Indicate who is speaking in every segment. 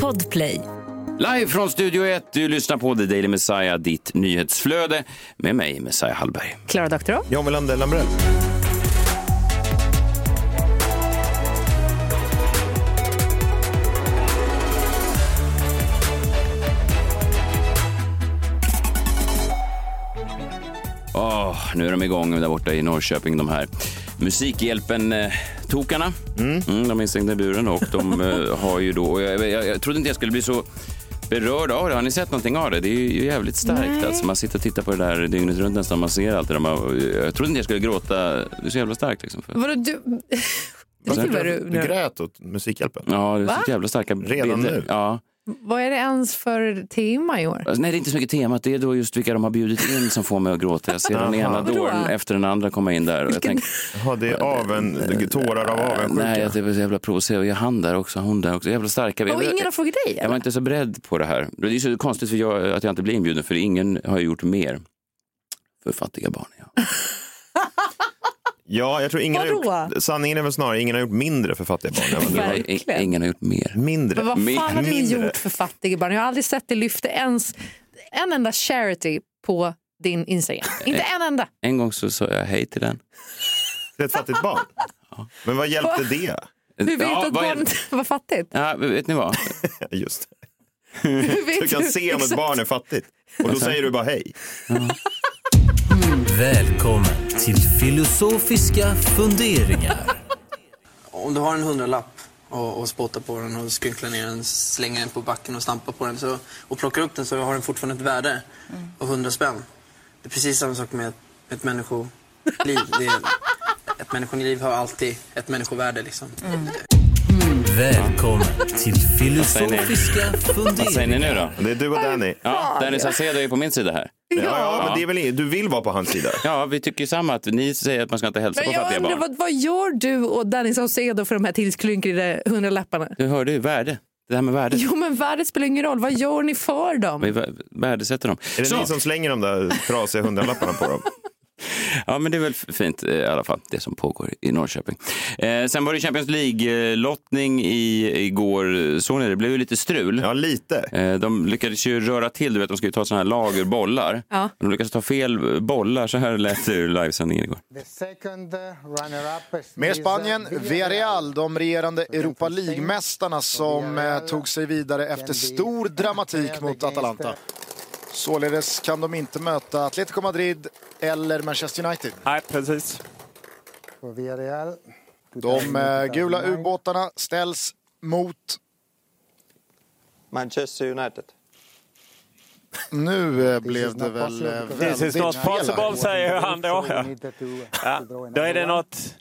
Speaker 1: Podplay.
Speaker 2: Live från Studio 1, du lyssnar på The Daily Messiah, ditt nyhetsflöde med mig, Messiah Hallberg.
Speaker 1: Klara Doktorow.
Speaker 3: John Wilander Lambrell.
Speaker 2: Åh, nu är de igång där borta i Norrköping, de här Musikhjälpen-tokarna. Mm. de är instängda i buren och de eh, har ju då... och Jag, jag, jag trodde inte jag skulle bli så berörd av det. Har ni sett någonting av det? Det är ju jävligt starkt. Alltså, man sitter och tittar på det där dygnet runt nästan. Man ser allt det där. Man, jag trodde inte jag skulle gråta. Det är så jävla starkt. Liksom. För-
Speaker 1: Vadå du? Jag
Speaker 3: Du,
Speaker 1: vet inte vad,
Speaker 3: du
Speaker 1: du,
Speaker 3: grät åt Musikhjälpen.
Speaker 2: Ja, det är
Speaker 1: Va?
Speaker 2: så jävla starka
Speaker 3: Redan
Speaker 2: bilder.
Speaker 3: nu?
Speaker 2: Ja.
Speaker 1: vad är det ens för tema i år?
Speaker 2: Alltså, nej, det är inte så mycket temat. Det är då just vilka de har bjudit in som får mig att gråta. Jag ser den
Speaker 3: Aha.
Speaker 2: ena
Speaker 1: Vadå?
Speaker 2: dåren efter den andra komma in där. Och jag
Speaker 1: Vilken-
Speaker 2: tänker,
Speaker 3: Ja, det är aven, tårar av avundsjuka.
Speaker 2: nej, jag blev så jävla provocerad. Jag han där också, hon där också. Jävla starka
Speaker 1: Och ingen har frågat dig?
Speaker 2: Jag var
Speaker 1: eller?
Speaker 2: inte så beredd på det här. Det är så konstigt för jag, att jag inte blir inbjuden, för ingen har ju gjort mer för fattiga barn. Ja.
Speaker 3: Ja, jag tror ingen har
Speaker 1: Vadå?
Speaker 3: gjort, sanningen är väl snarare ingen har gjort mindre för fattiga barn. än vad du har gjort.
Speaker 2: I-
Speaker 1: Verkligen.
Speaker 2: Ingen har gjort mer.
Speaker 3: Mindre.
Speaker 1: Men vad fan har du
Speaker 3: Mindre.
Speaker 1: gjort för fattiga barn? Jag har aldrig sett dig lyfta ens en enda charity på din Instagram. Inte en enda.
Speaker 2: En gång så sa jag hej till den.
Speaker 3: Till ett fattigt barn. Men vad hjälpte det?
Speaker 1: Hur vet
Speaker 2: Ja,
Speaker 1: du att
Speaker 2: vad är-
Speaker 1: barnet var fattigt?
Speaker 2: Ja, vet ni vad?
Speaker 3: Just det.
Speaker 1: Hur vet
Speaker 3: Du kan se om ett
Speaker 1: exakt?
Speaker 3: barn är fattigt. Och då säger du bara hej.
Speaker 4: Välkommen till filosofiska funderingar.
Speaker 5: Om du har en hundralapp och, och spottar på den och skrynklar ner den, slänger den på backen och stampar på den så, och plockar upp den så har den fortfarande ett värde av hundra spänn. Det är precis samma sak med ett, med ett människoliv. Det är, ett människoliv har alltid ett människovärde liksom.
Speaker 4: Välkommen till
Speaker 2: säger ni?
Speaker 4: filosofiska
Speaker 2: Vad säger ni
Speaker 4: funderingar.
Speaker 2: nu då?
Speaker 3: Det är du och Danny. Ja,
Speaker 2: Ja, Danny Saucedo är på min sida här.
Speaker 3: ja, men det är väl ingen, du vill vara på hans sida.
Speaker 2: Ja, vi tycker ju samma. Att ni säger att man ska inte hälsa
Speaker 1: Men
Speaker 2: på
Speaker 1: jag
Speaker 2: fattiga
Speaker 1: undrar,
Speaker 2: barn.
Speaker 1: vad, vad gör du och Danny Saucedo för de här tillskrynkrade hundralapparna?
Speaker 2: Du hörde ju värde. Det här med värde.
Speaker 1: Jo, men värdet spelar ingen roll. Vad gör ni för dem?
Speaker 2: Vi vär- värdesätter dem.
Speaker 3: Är det
Speaker 2: Så.
Speaker 3: ni som slänger de där trasiga hundralapparna på dem?
Speaker 2: Ja, men det är väl fint eh, i alla fall, det som pågår i Norrköping. Eh, sen var det Champions League-lottning i, igår. Såg ni det? Det blev ju lite strul.
Speaker 3: Ja, lite.
Speaker 2: Eh, De lyckades ju röra till, du vet de ska ju ta sådana här lagerbollar.
Speaker 1: Ja.
Speaker 2: De lyckades ta fel eh, bollar, så här lät det ur livesändningen igår.
Speaker 6: Med Spanien, Villarreal, de regerande Europa League-mästarna som eh, tog sig vidare efter stor dramatik mot Atalanta. Således kan de inte möta Atletico Madrid eller Manchester United.
Speaker 7: Nej, precis.
Speaker 6: De eh, gula ubåtarna ställs mot...
Speaker 8: Manchester United.
Speaker 6: Nu eh, blev det väl eh,
Speaker 7: This is
Speaker 6: väldigt
Speaker 7: not
Speaker 6: fel
Speaker 7: possible,
Speaker 6: här.
Speaker 7: säger han då. Ja. Ja, då är det något...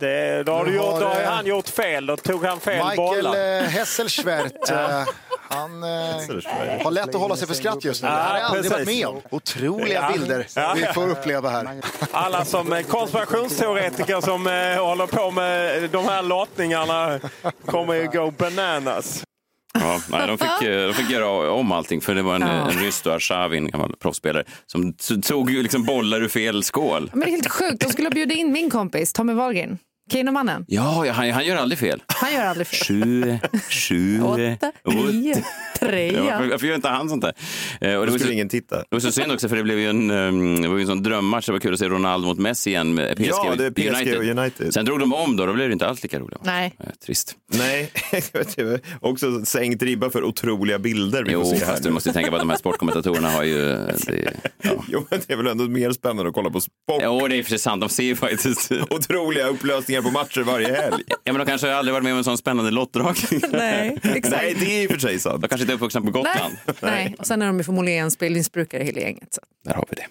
Speaker 7: Det, då, har du
Speaker 6: Nu
Speaker 7: gjort,
Speaker 6: har,
Speaker 7: då har ju
Speaker 6: eh,
Speaker 7: han gjort fel. Då tog han fel
Speaker 6: Michael
Speaker 7: bollar.
Speaker 6: eh, Hesselschwert, eh, han eh, har lätt att hålla sig för skratt just nu. Det
Speaker 7: Ja,
Speaker 6: här har jag aldrig varit
Speaker 7: precis.
Speaker 6: med om. Otroliga
Speaker 7: Ja.
Speaker 6: bilder
Speaker 7: Ja.
Speaker 6: vi får uppleva här.
Speaker 7: Alla som eh, konspirationsteoretiker som eh, håller på med de här lottningarna kommer ju gå bananas.
Speaker 2: Ja, nej, de, fick, eh, de fick göra om allting, för det var en,
Speaker 1: Ja.
Speaker 2: en ryss, då, Arshavin, en gammal proffsspelare, som t- tog ju liksom bollar ur fel skål.
Speaker 1: Men det är helt sjukt. De skulle ha bjudit in min kompis Tommy Wahlgren. Kenomannen.
Speaker 2: Ja, ja, han, han gör aldrig fel.
Speaker 1: Han gör aldrig fel.
Speaker 2: Sju, sju,
Speaker 1: Åtta, nio,
Speaker 2: Ja, varför,
Speaker 1: trea.
Speaker 2: varför gör inte han sånt där? Eh, och det
Speaker 3: Då
Speaker 2: var så,
Speaker 3: skulle ingen titta.
Speaker 2: det var så synd också, för det blev ju en, ehm, det var ju en sån drömmatch. Det var kul att se Ronaldo mot Messi igen med PSG,
Speaker 3: Ja, det är PSG och United.
Speaker 2: Sen drog de om då, då blev det inte alls lika roligt.
Speaker 1: Nej.
Speaker 2: Eh, Trist.
Speaker 3: Nej, det var också sänkt ribba för otroliga bilder vi
Speaker 2: Jo,
Speaker 3: får se här
Speaker 2: fast du
Speaker 3: nu.
Speaker 2: måste ju tänka på att de här sportkommentatorerna har ju... eh, Det, ja.
Speaker 3: Jo, men det är väl ändå mer spännande att kolla på sport.
Speaker 2: Jo, det är i och för sig sant. De ser ju faktiskt...
Speaker 3: Otroliga upplösningar på matcher varje helg.
Speaker 2: Ja, men de kanske aldrig varit med om en sån spännande lottdragning.
Speaker 1: Nej,
Speaker 3: Nej,
Speaker 1: exakt.
Speaker 3: det är i och för sig sant.
Speaker 2: De kanske inte är uppvuxna på Gotland.
Speaker 1: Nej. Nej. Och sen är de ju förmodligen spelmissbrukare hela gänget. Så.
Speaker 2: Där har vi det.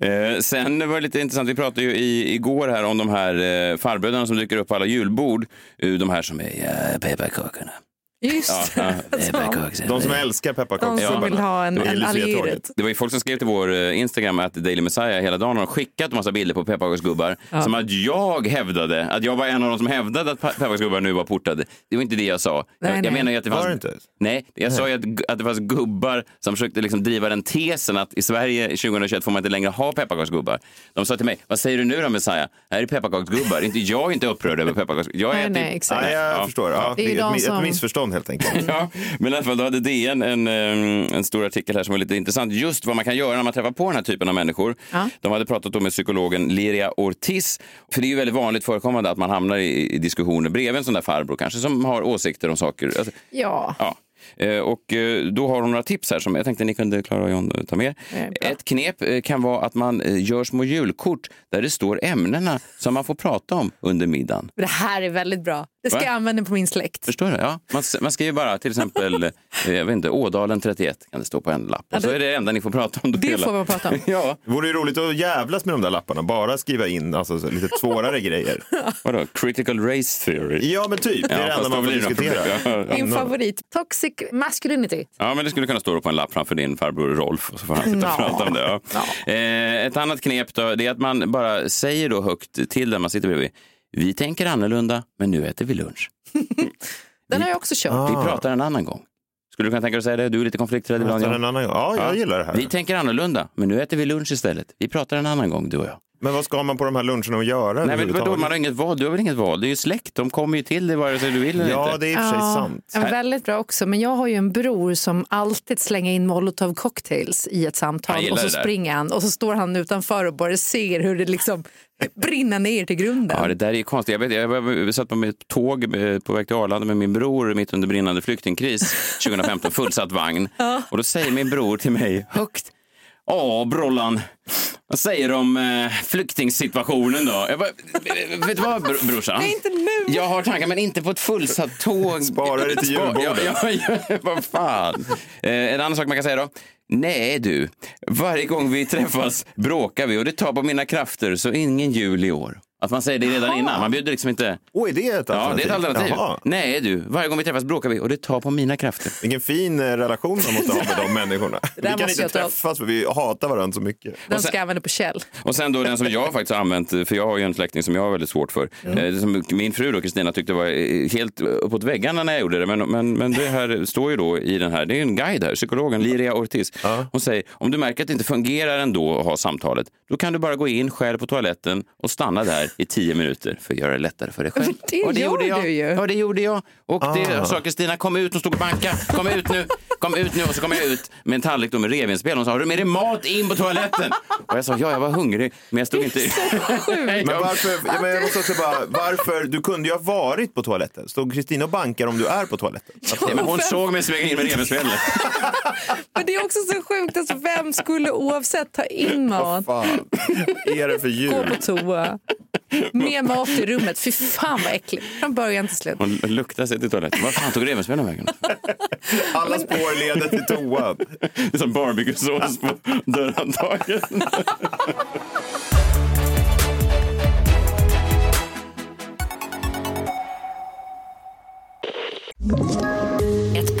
Speaker 2: Eh, sen var det lite intressant, vi pratade ju i, igår här om de här eh, farbröderna som dyker upp på alla julbord. Eh, De här som är eh, pepparkakorna.
Speaker 1: Just
Speaker 2: Ja,
Speaker 1: det. Som-
Speaker 3: De som älskar
Speaker 1: De som vill
Speaker 3: pepparkaksgubbarna.
Speaker 1: ha en,
Speaker 3: Det var
Speaker 1: en
Speaker 3: Lucia-tåget.
Speaker 1: allgyret.
Speaker 2: Det var ju folk som skrev till vår eh, Instagram att Daily Messiah hela dagen har skickat massa bilder på pepparkaksgubbar som att jag hävdade att jag var en av de som hävdade att pe- pepparkaksgubbar nu var portade. Det var inte det jag sa.
Speaker 1: Nej,
Speaker 2: jag,
Speaker 1: nej.
Speaker 2: jag menar ju att det fanns...
Speaker 3: Var det inte?
Speaker 2: Nej, jag sa ju att, gu- att det fanns gubbar som försökte liksom driva den tesen att i Sverige 2021 får man inte längre ha pepparkaksgubbar. De sa till mig, vad säger du nu då Messiah? Här är pepparkaksgubbar. inte, jag är inte upprörd över pepparkaksgubbar. Jag typ
Speaker 1: Nej,
Speaker 2: äter-
Speaker 1: nej, exakt.
Speaker 3: Nej, jag förstår. Ja,
Speaker 1: Det är ju
Speaker 3: det
Speaker 1: de
Speaker 3: är ett, mi-
Speaker 1: som-
Speaker 3: ett missförstånd helt enkelt.
Speaker 2: Ja, men i alla fall, då hade DN en, eh, en stor artikel här som var lite intressant. Just vad man kan göra när man träffar på den här typen av människor. De hade pratat då med psykologen Liria Ortiz. För det är ju väldigt vanligt förekommande att man hamnar i, i diskussioner bredvid en sån där farbror kanske som har åsikter om saker. Alltså,
Speaker 1: Ja.
Speaker 2: ja. Eh, Och eh, då har hon några tips här som jag tänkte ni kunde, Klara och John, eh, ta med. Ett knep eh, kan vara att man eh, gör små julkort där det står ämnena som man får prata om under middagen.
Speaker 1: Det här är väldigt bra. Det ska
Speaker 2: Va?
Speaker 1: jag använda på min släkt.
Speaker 2: Förstår du? Ja. Man, s- man skriver bara till exempel eh, jag vet inte, Ådalen 31 kan det stå på en lapp. Och så är det det enda ni får prata om. då
Speaker 1: Det
Speaker 2: hela-
Speaker 1: får man prata om.
Speaker 2: Ja,
Speaker 3: Det vore ju roligt att jävlas med de där lapparna. Bara skriva in alltså, så lite svårare grejer.
Speaker 2: vadå? Critical race theory.
Speaker 3: Ja, men typ. Det är det
Speaker 2: fast
Speaker 3: enda
Speaker 2: då
Speaker 3: man får
Speaker 2: blir det
Speaker 3: diskutera.
Speaker 2: något problem. Ja, ja.
Speaker 1: Min favorit, toxic masculinity.
Speaker 2: Ja, men det skulle kunna stå då på en lapp framför din farbror Rolf och så får han sitta och
Speaker 1: Ja.
Speaker 2: prata om det. Ja. Eh, ett annat knep då, det är att man bara säger då högt till den man sitter bredvid. Vi tänker annorlunda, men nu äter vi lunch.
Speaker 1: Den har jag också kört.
Speaker 3: Ah.
Speaker 2: Vi pratar en annan gång. Skulle du kunna tänka dig att säga det? Du är lite konflikträdd ibland.
Speaker 3: Nästan en
Speaker 2: John.
Speaker 3: annan gång. Ja, jag gillar det här.
Speaker 2: Vi tänker annorlunda, men nu äter vi lunch istället. Vi pratar en annan gång, du och jag.
Speaker 3: Men vad ska man på de här luncherna att göra
Speaker 2: Nej, men vadå,
Speaker 3: överhuvudtaget?
Speaker 2: man har inget val. Du har väl inget val? Det är ju släkt. De kommer ju till dig vare sig du vill eller
Speaker 3: Ja,
Speaker 2: inte.
Speaker 3: det är i och för sig
Speaker 1: Ja,
Speaker 3: sant.
Speaker 1: ja, väldigt bra också. Men jag har ju en bror som alltid slänger in molotov cocktails i ett
Speaker 2: Han
Speaker 1: samtal
Speaker 2: gillar
Speaker 1: och så
Speaker 2: det där.
Speaker 1: springer han och så står han utanför och bara ser hur det liksom brinner ner till grunden.
Speaker 2: Ja, det där är ju konstigt. Jag, vet, jag, var- jag satt på mitt tåg eh, på väg till Arlanda med min bror mitt under brinnande flyktingkris 2015, fullsatt vagn. Och då säger min bror till mig högt, ja Brollan, vad säger du om eh, flyktingsituationen då? Jag bara, "Eh, vet du vad br- brorsan?
Speaker 1: Nej, inte nu.
Speaker 2: Jag har tankar, men inte på ett fullsatt tåg.
Speaker 3: Spara det till
Speaker 2: Spar-
Speaker 3: julbordet.
Speaker 2: Ja, ja, ja, vad fan. Eh, en annan sak man kan säga då. Nej du, varje gång vi träffas bråkar vi och det tar på mina krafter så ingen jul i år. Att man säger det redan innan, man bjuder liksom inte.
Speaker 3: Oj, det är ett
Speaker 2: Ja, det är
Speaker 3: alternativ.
Speaker 2: ett alternativ.
Speaker 3: Jaha.
Speaker 2: Nej du, varje gång vi träffas bråkar vi och det tar på mina krafter.
Speaker 3: Vilken fin eh, relation man måste ha med de människorna. Vi
Speaker 1: där
Speaker 3: kan
Speaker 1: måste
Speaker 3: inte
Speaker 1: jag ta upp.
Speaker 3: träffas för vi hatar varandra så mycket.
Speaker 1: Den ska jag använda på Kjell.
Speaker 2: Och sen då den som jag faktiskt har använt, för jag har ju en släkting som jag har väldigt svårt för. Eh, Som min fru då, Kristina, tyckte var eh, helt uppåt väggarna när jag gjorde det. Men, men, men det här står ju då i den här, det är ju en guide här, psykologen Liria Ortiz. Hon säger, om du märker att det inte fungerar ändå att ha samtalet, då kan du bara gå in själv på toaletten och stanna där i tio minuter för att göra det lättare för dig själv.
Speaker 1: Men det
Speaker 2: och
Speaker 1: gör
Speaker 2: gjorde
Speaker 1: du
Speaker 2: jag.
Speaker 1: ju.
Speaker 2: Ja, det gjorde jag. Och det sa Kristina, kom ut, hon stod och bankade. Kom ut nu, kom ut nu. Och så kom jag ut med en tallrik då med revbensspjäll. Hon sa, har du med dig mat in på toaletten? Och jag sa, ja, jag var hungrig, men jag stod inte... Nej,
Speaker 3: Men
Speaker 2: jag-
Speaker 3: varför, ja, men jag måste också bara, varför, du kunde ju ha varit på toaletten. Står Kristina och bankar om du är på toaletten? Alltså,
Speaker 2: Nej, men hon såg mig smyga in med revbensspjällen.
Speaker 1: Men det är också så sjukt, alltså, vem skulle oavsett ta in mat,
Speaker 3: Fan, vad är det för
Speaker 1: gå på
Speaker 3: djur?
Speaker 1: toa, med mat i rummet? Fy fan vad äckligt, från början till slut.
Speaker 2: Hon luktade sig till toaletten. Var fan tog revbensspjällen vägen?
Speaker 3: Alla spår leder till toan.
Speaker 2: Det är som barbecuesås på dörrhandtaget.
Speaker 8: Ett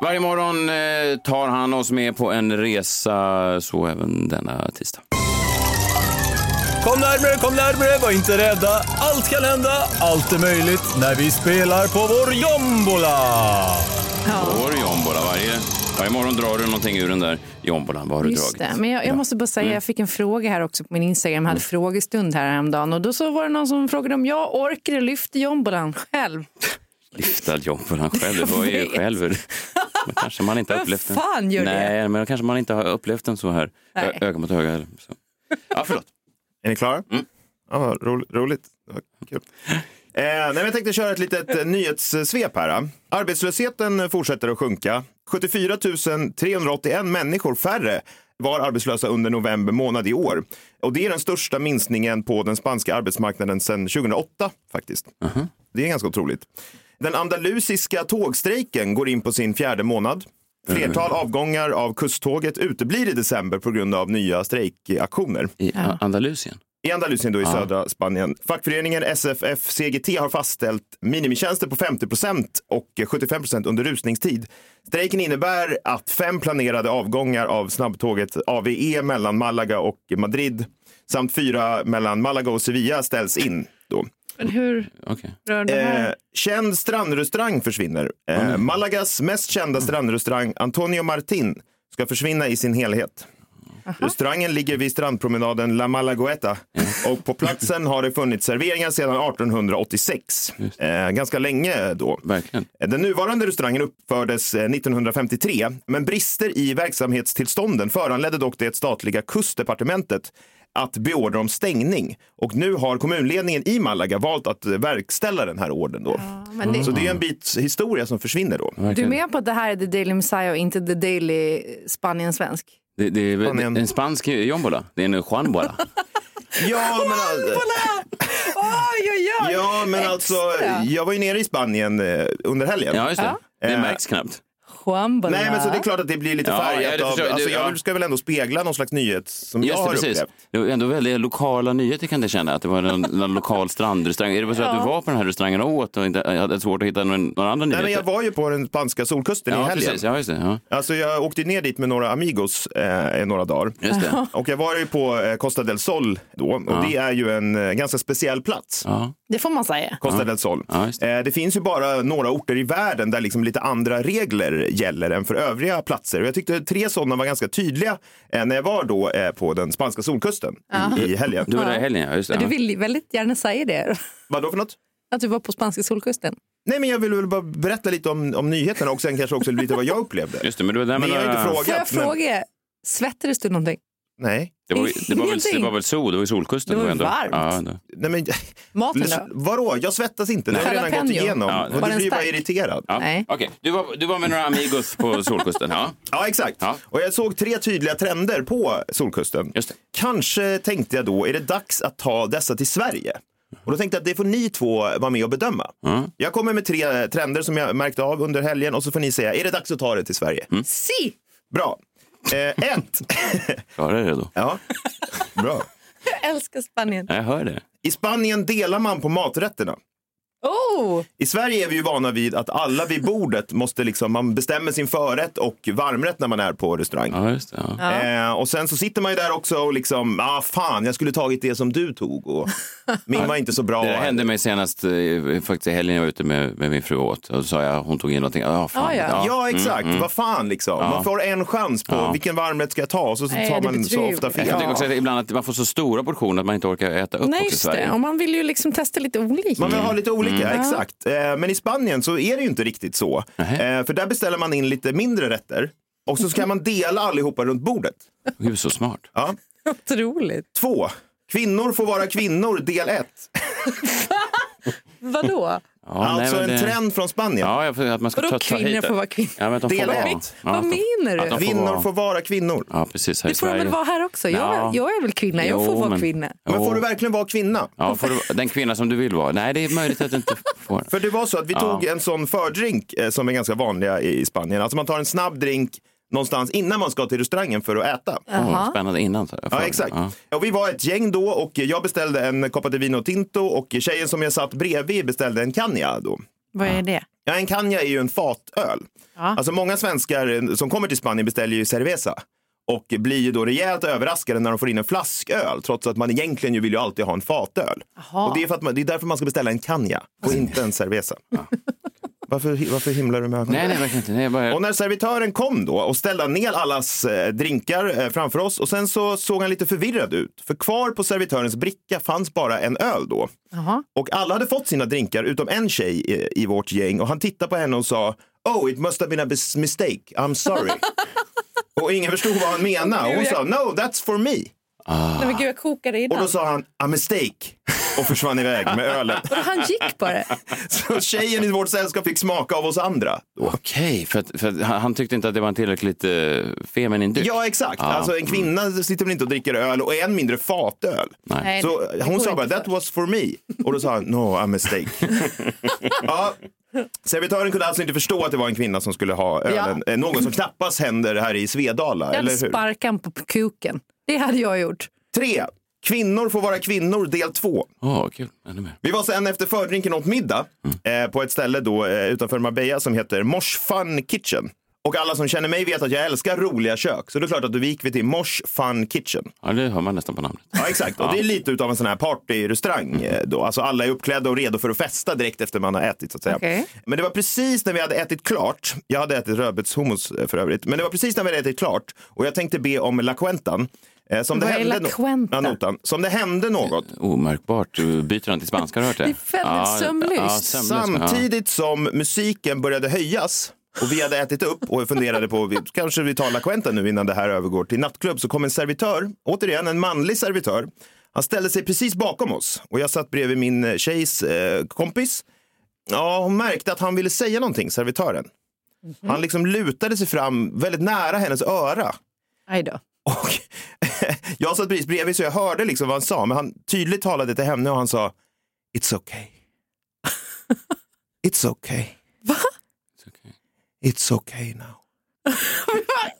Speaker 2: Varje morgon eh, tar han oss med på en resa, så även denna tisdag.
Speaker 9: Kom närmre, kom närmre, var inte rädda. Allt kan hända, allt är möjligt när vi spelar på vår jombola.
Speaker 2: Vår jombola. Varje, varje morgon drar du någonting ur den där jombolan. Vad har du
Speaker 1: Just det.
Speaker 2: dragit?
Speaker 1: Men jag, jag måste bara säga, jag fick en fråga här också på min Instagram. Jag hade frågestund här häromdagen och då så var det någon som frågade om jag orkar lyfta jombolan själv.
Speaker 2: Lyftad jombolan själv. Det
Speaker 1: Jag
Speaker 2: var ju
Speaker 1: vet.
Speaker 2: själv. Men kanske man inte har
Speaker 1: Vem
Speaker 2: upplevt den.
Speaker 1: fan gör det?
Speaker 2: Nej, men kanske man inte har upplevt den så här.
Speaker 1: Nej.
Speaker 2: Ö- öga mot öga. eller Så. Ja, förlåt.
Speaker 3: Är ni klara? Ja, vad ro, roligt. Vad Kul. Eh, nej, men jag tänkte köra ett litet eh, nyhetssvep här. eh. Arbetslösheten fortsätter att sjunka. 74 381 människor färre var arbetslösa under november månad i år. Och det är den största minskningen på den spanska arbetsmarknaden sedan 2008 faktiskt. Det är ganska otroligt. Den andalusiska tågstrejken går in på sin fjärde månad. Flertal avgångar av kusttåget uteblir i december på grund av nya strejkaktioner.
Speaker 2: I A- Andalusien?
Speaker 3: I Andalusien då i södra Spanien. Fackföreningen SFF CGT har fastställt minimitjänster på 50 procent och 75 procent under rusningstid. Strejken innebär att fem planerade avgångar av snabbtåget AVE mellan Malaga och Madrid samt fyra mellan Malaga och Sevilla ställs in. Då.
Speaker 1: Men hur
Speaker 2: Okej.
Speaker 1: rör det här?
Speaker 3: Eh, känd strandrestaurang försvinner. Eh, Malagas mest kända strandrestaurang Antonio Martin ska försvinna i sin helhet. Restaurangen ligger vid strandpromenaden La Malagueta och på platsen har det funnits serveringar sedan 1886. Eh, ganska länge då.
Speaker 2: Verkligen.
Speaker 3: Den nuvarande restaurangen uppfördes eh, 1953, men brister i verksamhetstillstånden föranledde dock det statliga kustdepartementet att beordra om stängning. Och nu har kommunledningen i Malaga valt att eh, verkställa den här ordern. Då.
Speaker 1: Men det,
Speaker 3: Så det är en bit historia som försvinner då.
Speaker 1: Mm. du är
Speaker 2: Verkligen.
Speaker 1: med på att det här är The Daily Messiah och inte The Daily Spanien-svensk?
Speaker 2: Det, det är väl-
Speaker 3: Spanien.
Speaker 2: en spansk jombola. Det är en Juanbola.
Speaker 3: Ja, men, all-
Speaker 1: Oj, oj, oj!
Speaker 3: ja, men alltså, jag var ju nere i Spanien eh, under helgen.
Speaker 2: Ja, just det. Det
Speaker 3: Eh,
Speaker 2: märks knappt.
Speaker 1: Juanbola.
Speaker 3: Nej, men så det är klart att det blir lite
Speaker 2: Ja,
Speaker 3: färgat
Speaker 2: jag
Speaker 3: av...
Speaker 2: försöker-
Speaker 3: Alltså,
Speaker 2: det-
Speaker 3: jag
Speaker 2: ja.
Speaker 3: ska väl ändå spegla någon slags nyhet som jag
Speaker 2: Just det,
Speaker 3: har
Speaker 2: precis.
Speaker 3: upplevt.
Speaker 2: Det var ändå väldigt lokala nyheter kan jag känna. Att det var en, en lokal strandrestaurang. Är det bara så att du var på den här restaurangen och åt och inte, hade svårt att hitta någon, några andra
Speaker 3: Nej,
Speaker 2: nyheter?
Speaker 3: men jag var ju på den spanska solkusten i
Speaker 2: ja,
Speaker 3: helgen.
Speaker 2: precis. Ja, just det. Ja.
Speaker 3: Alltså jag åkte ner dit med några amigos eh, i några dagar.
Speaker 2: Just det.
Speaker 3: Och jag var ju på eh, Costa del Sol då och det är ju en eh, ganska speciell plats.
Speaker 2: Ja.
Speaker 1: Det får man säga.
Speaker 3: Costa del Sol.
Speaker 2: Ja, just
Speaker 3: Eh, det finns ju bara några orter i världen där liksom lite andra regler gäller än för övriga platser. Och jag tyckte tre sådana var ganska tydliga eh, när jag var då eh, på den spanska solkusten i, i helgen.
Speaker 2: Du var där i helgen, ja. Just det.
Speaker 1: Du
Speaker 2: Ja.
Speaker 1: vill väldigt gärna säga det,
Speaker 3: Vad då för något?
Speaker 1: att du var på spanska solkusten.
Speaker 3: Nej, men jag ville väl bara berätta lite om, om nyheterna och sen kanske också lite vad jag upplevde.
Speaker 2: Just det, men du var där med
Speaker 3: Ni har ju
Speaker 2: några...
Speaker 3: inte frågat.
Speaker 1: Får jag
Speaker 3: men-
Speaker 1: fråga, svettades du någonting?
Speaker 3: Nej.
Speaker 2: Det var, det, var väl, det var väl sol, det var ju solkusten.
Speaker 1: Det var
Speaker 2: ändå-
Speaker 1: varmt.
Speaker 2: Ja, då.
Speaker 3: Nej, men...
Speaker 1: Maten
Speaker 3: Lys-
Speaker 1: då?
Speaker 3: Vadå? Jag svettas inte. Det har jag redan gått
Speaker 1: Jalapeno.
Speaker 3: igenom.
Speaker 2: Ja,
Speaker 3: och
Speaker 1: var
Speaker 3: du
Speaker 1: den
Speaker 3: blir ju bara
Speaker 1: stark?
Speaker 3: irriterad.
Speaker 2: Ja.
Speaker 1: Nej.
Speaker 2: Okej, du, var, du var med några amigos på solkusten. Ja.
Speaker 3: Ja, exakt.
Speaker 2: Ja.
Speaker 3: Och jag såg tre tydliga trender på Solkusten.
Speaker 2: Just det.
Speaker 3: Kanske tänkte jag då, är det dags att ta dessa till Sverige? Och då tänkte jag att det får ni två vara med och bedöma.
Speaker 2: Mm.
Speaker 3: Jag kommer med tre trender som jag märkte av under helgen och så får ni säga, är det dags att ta det till Sverige?
Speaker 2: Mm.
Speaker 1: Si!
Speaker 3: Bra. Eh, ett.
Speaker 2: Klarar det då?
Speaker 3: ja. Bra.
Speaker 1: Jag älskar Spanien.
Speaker 2: Ja, Jag hör det.
Speaker 3: I Spanien delar man på maträtterna.
Speaker 1: Oh!
Speaker 3: I Sverige är vi ju vana vid att alla vid bordet måste liksom, man bestämmer sin förrätt och varmrätt när man är på restaurang.
Speaker 2: Ja, just det. Ja.
Speaker 3: Eh, och sen så sitter man ju där också och liksom, ah fan, jag skulle tagit det som du tog och min var inte så bra.
Speaker 2: Det där hände mig senast eh, faktiskt i helgen jag var ute med, med min fru och åt. Och så sa jag, hon tog in någonting. Ah, fan,
Speaker 1: Ah, ja.
Speaker 3: Ja, exakt.
Speaker 2: mm.
Speaker 3: Vad fan liksom. Man får en chans på vilken varmrätt ska jag ta och så, så
Speaker 1: Nej,
Speaker 3: tar
Speaker 1: det
Speaker 3: man
Speaker 1: betyder
Speaker 3: så
Speaker 1: ju
Speaker 3: ofta
Speaker 1: olika.
Speaker 3: fel.
Speaker 2: Jag tycker också att ibland att man får så stora portioner att man inte orkar äta upp
Speaker 1: Nej,
Speaker 2: också i
Speaker 1: just det.
Speaker 2: Sverige.
Speaker 1: Och man vill ju liksom testa lite olika.
Speaker 3: Man vill ha lite
Speaker 2: Mm.
Speaker 3: olika, exakt. Eh, Men i Spanien så är det ju inte riktigt så. Eh, För där beställer man in lite mindre rätter och så
Speaker 2: Mm.
Speaker 3: ska man dela allihopa runt bordet.
Speaker 2: Gud, så smart.
Speaker 3: Ja.
Speaker 1: Otroligt.
Speaker 3: Två. Kvinnor får vara kvinnor, del ett.
Speaker 1: Vadå?
Speaker 2: Ja,
Speaker 3: alltså
Speaker 2: nej, men
Speaker 3: en
Speaker 2: det-
Speaker 3: trend från Spanien.
Speaker 2: Ja, jag får, att man ska
Speaker 1: Vadå
Speaker 2: ta, ta
Speaker 1: kvinnor
Speaker 2: hit det.
Speaker 1: får vara kvinnor?
Speaker 2: Ja, men att de får
Speaker 3: Del
Speaker 2: vara.
Speaker 3: ett.
Speaker 2: Ja,
Speaker 1: Vad
Speaker 2: att de-
Speaker 1: menar du?
Speaker 2: att de
Speaker 3: Kvinnor
Speaker 2: vara-
Speaker 3: får vara kvinnor.
Speaker 2: Ja, precis. Här i
Speaker 1: Det får de
Speaker 2: Sverige.
Speaker 1: väl vara här också? Jag,
Speaker 2: Ja.
Speaker 1: jag är väl kvinna? Jag får
Speaker 2: Jo,
Speaker 1: vara
Speaker 2: men-
Speaker 1: kvinna.
Speaker 3: Men får
Speaker 2: Jo.
Speaker 3: du verkligen vara kvinna?
Speaker 2: Ja, får du, den kvinna som du vill vara. Nej, det är möjligt att du inte får.
Speaker 3: För det var så att vi
Speaker 2: Ja.
Speaker 3: tog en sån fördrink eh, som är ganska vanliga i i Spanien. Alltså man tar en snabb drink någonstans innan man ska till restaurangen för att äta.
Speaker 2: Oh, spännande innan. så jag får-
Speaker 3: Ja, exakt.
Speaker 2: Ja.
Speaker 3: Och vi var ett gäng då och jag beställde en Copa de Vino Tinto och tjejen som jag satt bredvid beställde en Cagna då.
Speaker 1: Vad är det?
Speaker 3: Ja, en Cagna är ju en fatöl. Alltså många svenskar eh, som kommer till Spanien beställer ju cerveza och blir ju då rejält överraskade när de får in en flasköl trots att man egentligen ju vill ju alltid ha en fatöl. Och det är, för att man, det är därför man ska beställa en Cagna och inte en cerveza. Varför, varför himlar du med ögonen?
Speaker 2: Nej, nej, verkligen inte. Nej, jag bara...
Speaker 3: Och när servitören kom då och ställde ner allas eh, drinkar eh, framför oss och sen så såg han lite förvirrad ut. För kvar på servitörens bricka fanns bara en öl då. Och alla hade fått sina drinkar utom en tjej eh, i, i vårt gäng och han tittade på henne och sa Oh, it must have been a bis- mistake. I'm sorry. och ingen förstod vad han menade. Och hon sa No, that's for me.
Speaker 2: Ah.
Speaker 1: Nej, men gud, jag kokade
Speaker 3: Och
Speaker 1: innan.
Speaker 3: då sa han a mistake och försvann iväg med ölen.
Speaker 1: Han gick på det.
Speaker 3: Så tjejen i vårt sällskap fick smaka av oss andra.
Speaker 2: Okej, för, att, för att han, han tyckte inte att det var en tillräckligt eh, feminin dryck.
Speaker 3: Ja, exakt.
Speaker 2: Ja.
Speaker 3: Alltså, en kvinna sitter väl inte och dricker öl och än mindre fatöl.
Speaker 2: Nej.
Speaker 3: Så
Speaker 2: Nej, det går
Speaker 3: hon sa bara,
Speaker 2: inte
Speaker 3: that was for me. Och då sa han, no, a mistake. ja. Servitören kunde alltså inte förstå att det var en kvinna som skulle ha ölen. Eh, Något som knappast händer här i Svedala,
Speaker 1: Jag
Speaker 3: eller
Speaker 1: hade
Speaker 3: hur?
Speaker 1: sparkan på kuken. Det hade jag gjort.
Speaker 3: Tre. Kvinnor får vara kvinnor, del två.
Speaker 2: Ja, kul. Ännu mer.
Speaker 3: Vi var sen efter fördrinken åt middag
Speaker 2: Mm.
Speaker 3: eh, på ett ställe då, eh, utanför Marbella som heter Mosh Fun Kitchen. Och alla som känner mig vet att jag älskar roliga kök. Så det är klart att då gick vi till Mosh Fun Kitchen.
Speaker 2: Ja, det hör man nästan på namnet.
Speaker 3: Ja, exakt. Och det är lite utav en sån här partyrestaurang. eh, Då. Alltså alla är uppklädda och redo för att festa direkt efter man har ätit. Så att säga.
Speaker 1: Okej.
Speaker 3: Men det var precis när vi hade ätit klart. Jag hade ätit rödbetshummus eh, för övrigt. Men det var precis när vi hade ätit klart och jag tänkte be om La Cuentan. eh, Som
Speaker 1: Vad är La
Speaker 3: no-
Speaker 1: Cuenta?
Speaker 3: Ja, notan. Som det hände något.
Speaker 2: Omärkbart Du byter han till spanska, har du hört det? Det
Speaker 1: är väldigt sömnlöst.
Speaker 3: Samtidigt som musiken började höjas och vi hade ätit upp och funderade på, vi- kanske vi tar La Cuenta nu innan det här övergår till nattklubb, så kom en servitör, återigen en manlig servitör. Han ställde sig precis bakom oss och jag satt bredvid min eh, tjejs eh, kompis. Ja, hon märkte att han ville säga någonting, servitören. Han liksom lutade sig fram väldigt nära hennes öra.
Speaker 1: Aj då.
Speaker 3: Jag satt precis bredvid så jag hörde liksom vad han sa, men han tydligt talade till henne och han sa It's okay. It's okay. It's okay now.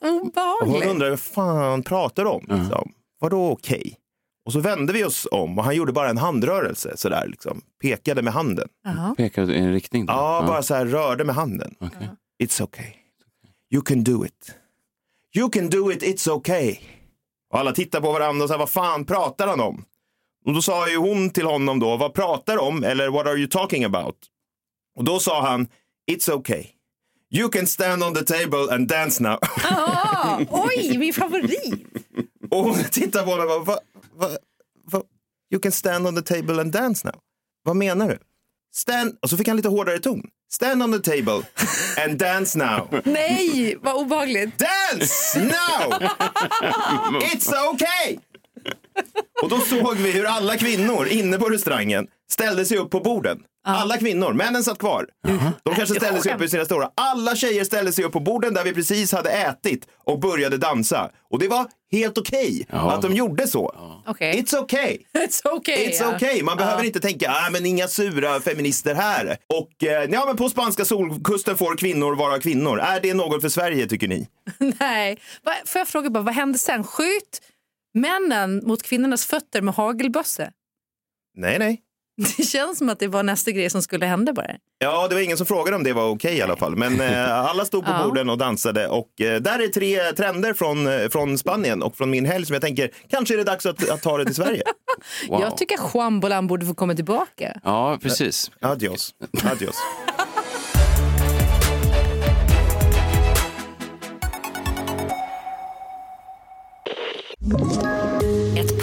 Speaker 3: Och hon
Speaker 1: Obehagligt.
Speaker 3: undrade vad fan han pratar om. Liksom. Vadå okej? Och så vände vi oss om och han gjorde bara en handrörelse sådär, liksom. pekade med handen.
Speaker 2: Pekar du i en riktning? då?
Speaker 3: Ja, bara så här rörde med handen.
Speaker 2: Okej.
Speaker 3: It's okay. You can do it. You can do it, it's okay. Och alla tittar på varandra och säger, vad fan pratar han om? Och då sa ju hon till honom då, vad pratar du om? Eller what are you talking about? Och då sa han, it's okay. You can stand on the table and dance now.
Speaker 1: Ah, oj, min favorit.
Speaker 3: Och hon tittar på honom och bara, va, va, va, you can stand on the table and dance now. Vad menar du? Stand, och så fick han lite hårdare ton. Stand on the table and dance now.
Speaker 1: Nej, vad obehagligt.
Speaker 3: Dance now! It's okay! Och då såg vi hur alla kvinnor inne på restaurangen ställde sig upp på borden. Alla kvinnor, männen satt kvar. De kanske ställde sig upp i sina stora. Alla tjejer ställde sig upp på borden där vi precis hade ätit och började dansa. Och det var helt okej att de gjorde så.
Speaker 1: Okej.
Speaker 3: It's okay.
Speaker 1: It's okay.
Speaker 3: It's
Speaker 1: ja.
Speaker 3: okay. Man behöver inte tänka, ah, men inga sura feminister här. Och eh, ja, men på spanska solkusten får kvinnor vara kvinnor. Är det något för Sverige tycker ni?
Speaker 1: Nej. Va- Får jag fråga bara, vad hände sen? Sköt männen mot kvinnornas fötter med hagelbössa?
Speaker 3: Nej, nej.
Speaker 1: Det känns som att det var nästa grej som skulle hända bara.
Speaker 3: Ja, det var ingen som frågade om det var okej i alla fall. Men eh, alla stod på
Speaker 1: Ja.
Speaker 3: borden och dansade. Och eh, där är tre trender från, eh, från Spanien och från min helg som jag tänker, kanske är det dags att, att ta det till Sverige.
Speaker 2: Wow.
Speaker 1: Jag tycker att Juan Bolan borde få komma tillbaka.
Speaker 2: Ja, precis.
Speaker 3: Adios. Adios.
Speaker 8: Ett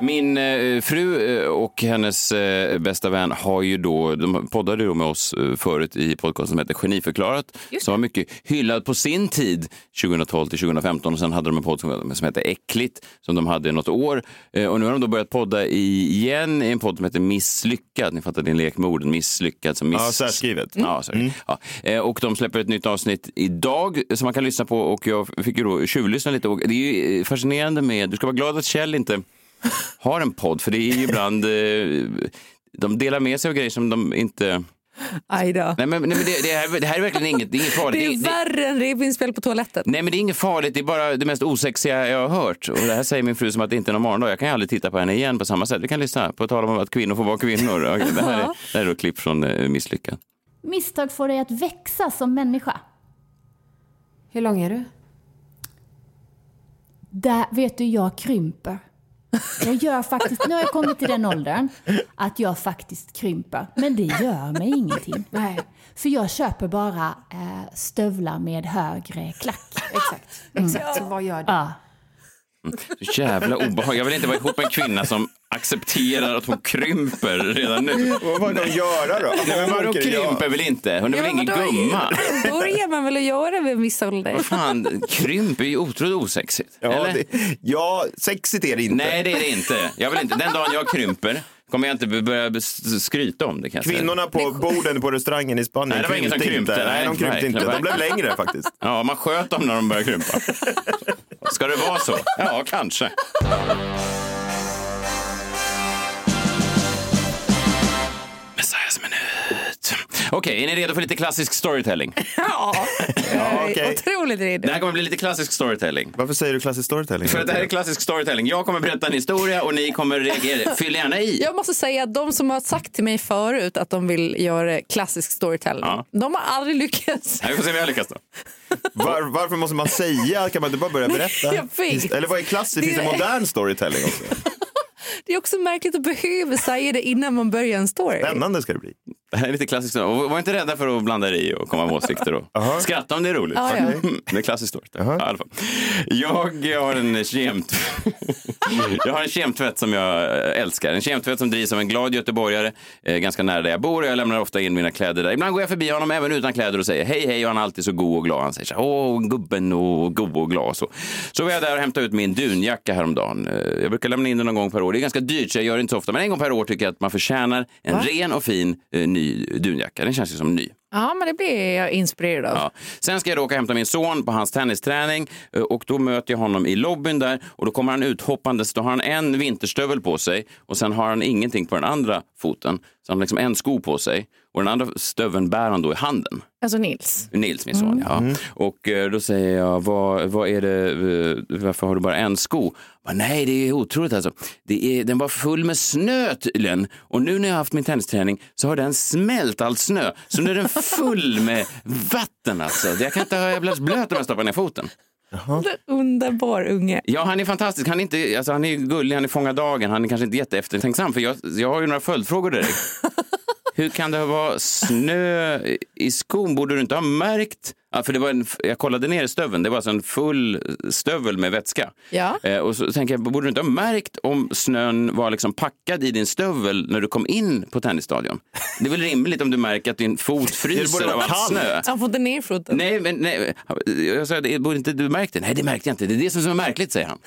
Speaker 2: Min eh, fru eh, och hennes eh, bästa vän har ju då, de poddade då med oss eh, förut i podcasten som heter Geniförklarat, som var mycket hyllad på sin tid, 2012 till 2015. Och sen hade de en podd som, som hette Äckligt, som de hade i något år. Eh, och nu har de då börjat podda i, igen i en podd som heter Misslyckad. Ni fattar, det är en lek med orden. Misslyckad. Som miss...
Speaker 3: Ja, särskrivet. Mm.
Speaker 2: Ja, sorry. Ja. Eh, Och de släpper ett nytt avsnitt idag som man kan lyssna på och jag fick ju då tjuvlyssna lite. Och det är ju eh, fascinerande med, du ska vara glad att Kjell inte har en podd för det är ju ibland, eh, de delar med sig av grejer som de inte...
Speaker 1: Aj då.
Speaker 2: Nej men, nej, men det, det, här, det här är verkligen inget, det är inget farligt.
Speaker 1: Det är värre än revinspel på toaletten.
Speaker 2: Nej men det är inget farligt, det är bara det mest osexiga jag har hört. Och det här säger min fru som att det inte är någon morgondag. Jag kan ju aldrig titta på henne igen på samma sätt. Vi kan lyssna på tal om att kvinnor får vara kvinnor. Okej, det, här är, det här är då klipp från eh, Misslyckad.
Speaker 10: Misstag får dig att växa som människa. Hur lång är du?
Speaker 11: Där, vet du, jag krymper. Jag gör faktiskt, nu har jag kommit till den åldern att jag faktiskt krymper. Men det gör mig ingenting. Nej. För jag köper bara eh, stövlar med högre klack. Exakt.
Speaker 10: Exakt, så vad gör du?
Speaker 11: Ja.
Speaker 2: Så jävla obehagligt. Jag vill inte vara ihop med en kvinna som accepterar att hon krymper redan nu.
Speaker 3: Vad var de göra då?
Speaker 2: Nej, men vadå
Speaker 3: Orkar jag?
Speaker 2: krymper väl inte? Hon är väl ingen
Speaker 1: vadå?
Speaker 2: gumma?
Speaker 1: börjar man väl att göra vid en viss ålder?
Speaker 2: Vad fan, krymp är ju otroligt osexigt.
Speaker 3: Ja,
Speaker 2: eller?
Speaker 3: det- ja, sexigt är det inte.
Speaker 2: Nej, det är det inte. Jag vill inte. Den dagen jag krymper kommer jag inte börja s- skryta om det. Kan jag säga.
Speaker 3: Kvinnorna på borden på restaurangen i Spanien
Speaker 2: Nej, det var ingen som krympte.
Speaker 3: inte. Nej, de krympte
Speaker 2: verkligen,
Speaker 3: inte. De blev
Speaker 2: verkligen.
Speaker 3: längre faktiskt.
Speaker 2: Ja, man sköt dem när de började krympa. Ska det vara så? Ja, kanske. Messiahs minut. Okej, är ni redo för lite klassisk storytelling?
Speaker 1: Ja,
Speaker 3: Ja, okej.
Speaker 1: otroligt redo.
Speaker 2: Det här kommer bli lite klassisk storytelling.
Speaker 3: Varför säger du klassisk storytelling?
Speaker 2: För att det här är klassisk storytelling. Jag kommer berätta en historia och ni kommer reagera. Fyll gärna i.
Speaker 1: Jag måste säga att de som har sagt till mig förut att de vill göra klassisk storytelling,
Speaker 2: Ja.
Speaker 1: de har aldrig lyckats.
Speaker 2: Nej, Vi får se om jag lyckas då.
Speaker 3: Var, varför måste man säga? Kan man inte bara börja berätta?
Speaker 1: Jag vet.
Speaker 3: Eller vad är klassiskt? Finns det
Speaker 1: Det är-
Speaker 3: modern storytelling också?
Speaker 1: Det är också märkligt att behöva säga det innan man börjar en story.
Speaker 3: Spännande ska det bli.
Speaker 2: Det här är lite klassiskt. Och Var inte rädda för att blanda er i och komma med åsikter. Och Skratta om det är roligt.
Speaker 1: Ja, ja.
Speaker 2: Mm, Det är klassiskt story. Ja, i alla fall. Jag har en kemt... jag har en kemtvätt som jag älskar. En kemtvätt som drivs av en glad göteborgare eh, ganska nära där jag bor. Jag lämnar ofta in mina kläder där. Ibland går jag förbi honom även utan kläder och säger hej, hej och han är alltid så god och glad. Han säger så här, åh, gubben och god och glad. och Så, så var jag där och hämtade ut min dunjacka häromdagen. Eh, Jag brukar lämna in den någon gång per år. Det är ganska dyrt så jag gör det inte så ofta. Men en gång per år tycker jag att man förtjänar en ren och fin eh, ny dunjacka. Den känns ju som ny.
Speaker 1: Ja, men det blir jag inspirerad av.
Speaker 2: Ja. Sen ska jag då åka och hämta min son på hans tennisträning eh, och då möter jag honom i lobbyn där och då kommer han ut hoppandes. Då har han en vinterstövel på sig och sen har han ingenting på den andra foten. Så han har liksom en sko på sig och den andra stöveln bär han då i handen.
Speaker 1: Alltså Nils.
Speaker 2: Nils, min son. Ja. Och eh, då säger jag, vad, vad är det, eh, varför har du bara en sko? Bara, Nej, det är otroligt alltså. Det är, den var full med snö tydligen. Och nu när jag har haft min tennisträning så har den smält all snö. Så nu är den full med vatten alltså. Jag kan inte ha, jag blir blöt om jag stoppar ner foten.
Speaker 1: Underbar unge.
Speaker 2: Ja, han är fantastisk. Han är, inte, alltså, han är gullig, han är fångar dagen. Han är kanske inte jätteeftertänksam, för jag, jag har ju några följdfrågor direkt. Hur kan det vara snö i skon? Borde du inte ha märkt? Ja, för det var en, jag kollade ner i stöveln, det var alltså en full stövel med vätska.
Speaker 1: Ja.
Speaker 2: Eh, och så tänker jag, borde du inte ha märkt om snön var liksom packad i din stövel när du kom in på tennisstadion? Det är väl rimligt om du märker att din fot fryser
Speaker 3: vara
Speaker 2: av all
Speaker 3: kallt.
Speaker 2: snö?
Speaker 1: Han får inte ner foten.
Speaker 2: Nej, men nej. Jag sa, det- borde inte du märkt det? Nej, det märkte jag inte. Det är det som är märkligt, säger han.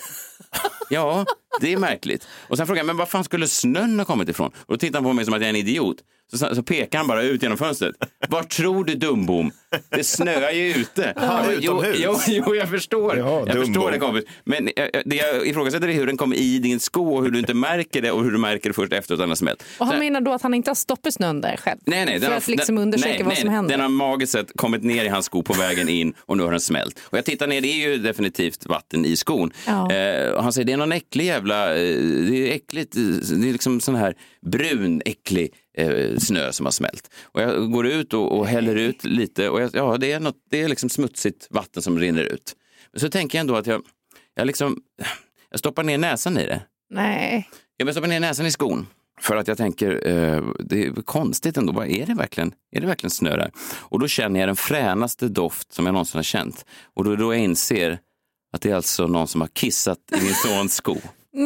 Speaker 2: Ja, det är märkligt. Och sen frågar jag, men var fan skulle snön ha kommit ifrån? Och då tittar han på mig som att jag är en idiot. Så, så pekar han bara ut genom fönstret. Var tror du, dumbom? Det snöar ju ute.
Speaker 3: Aha,
Speaker 2: jo,
Speaker 3: utomhus.
Speaker 2: jo, jo, jag förstår. jag
Speaker 3: dumbom.
Speaker 2: förstår det, kompis. Men jag, jag- det jag ifrågasätter är hur den kom i din sko och hur du inte märker det och hur du märker det först efter att den har smält.
Speaker 1: Och han
Speaker 2: Så-
Speaker 1: menar då att han inte har stoppat snön där själv?
Speaker 2: Nej, nej,
Speaker 1: för
Speaker 2: har-
Speaker 1: att liksom
Speaker 2: den-
Speaker 1: undersöka
Speaker 2: nej,
Speaker 1: vad
Speaker 2: nej,
Speaker 1: som händer?
Speaker 2: Den har magiskt sett kommit ner i hans sko på vägen in och nu har den smält. Och jag tittar ner, det är ju definitivt vatten i skon.
Speaker 1: Ja.
Speaker 2: Eh, och han säger, det är någon äcklig jävla, eh, det är äckligt, eh, det är liksom sån här brun, äcklig eh, snö som har smält. Och jag går ut och, och häller ut lite och jag, ja, det är, något, det är liksom smutsigt vatten som rinner ut. Men så tänker jag ändå att jag, jag liksom, jag stoppar ner näsan i det.
Speaker 1: Nej.
Speaker 2: Jag vill stoppa ner näsan i skon. För att jag tänker, eh, det är konstigt ändå. Vad är det verkligen? Är det verkligen snö där? Och då känner jag den fränaste doft som jag någonsin har känt. Och då är det då jag inser att det är alltså någon som har kissat i min sons sko.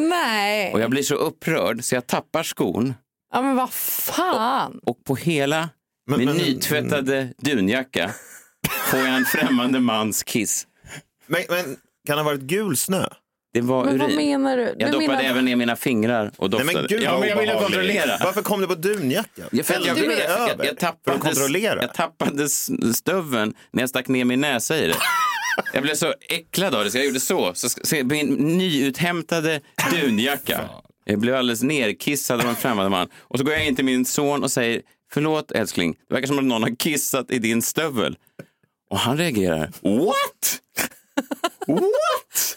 Speaker 1: Nej.
Speaker 2: Och jag blir så upprörd så jag tappar skon
Speaker 1: Ja, men vad fan.
Speaker 2: och på hela min
Speaker 3: men- Mm.
Speaker 2: nytvättade dunjacka får jag en främmande mans kiss.
Speaker 3: Men, men kan det ha varit gul snö?
Speaker 2: Det var
Speaker 1: Men vad
Speaker 2: urin.
Speaker 1: menar du?
Speaker 2: Jag
Speaker 1: du
Speaker 2: doppade
Speaker 1: menar...
Speaker 2: även ner mina fingrar och
Speaker 3: Nej,
Speaker 2: doftade.
Speaker 3: men gud
Speaker 2: ja,
Speaker 3: vad
Speaker 2: men jag ville
Speaker 3: obehagligt.
Speaker 2: kontrollera.
Speaker 3: Varför kom du på dunjackan?
Speaker 2: Ja, för att jag,
Speaker 3: Hällde du
Speaker 2: jag,
Speaker 3: det
Speaker 2: jag,
Speaker 3: över?
Speaker 2: jag,
Speaker 3: För
Speaker 2: tappade,
Speaker 3: att kontrollera?
Speaker 2: jag tappade s- stöveln när jag stack ner min näsa i det. Jag blev så äcklad av det så jag gjorde så. så sk- se, min nyuthämtade dunjacka. Jag blev alldeles nerkissad av en främmande man. Och så går jag in till min son och säger förlåt älskling, det verkar som att någon har kissat i din stövel. Och han reagerar. What? What?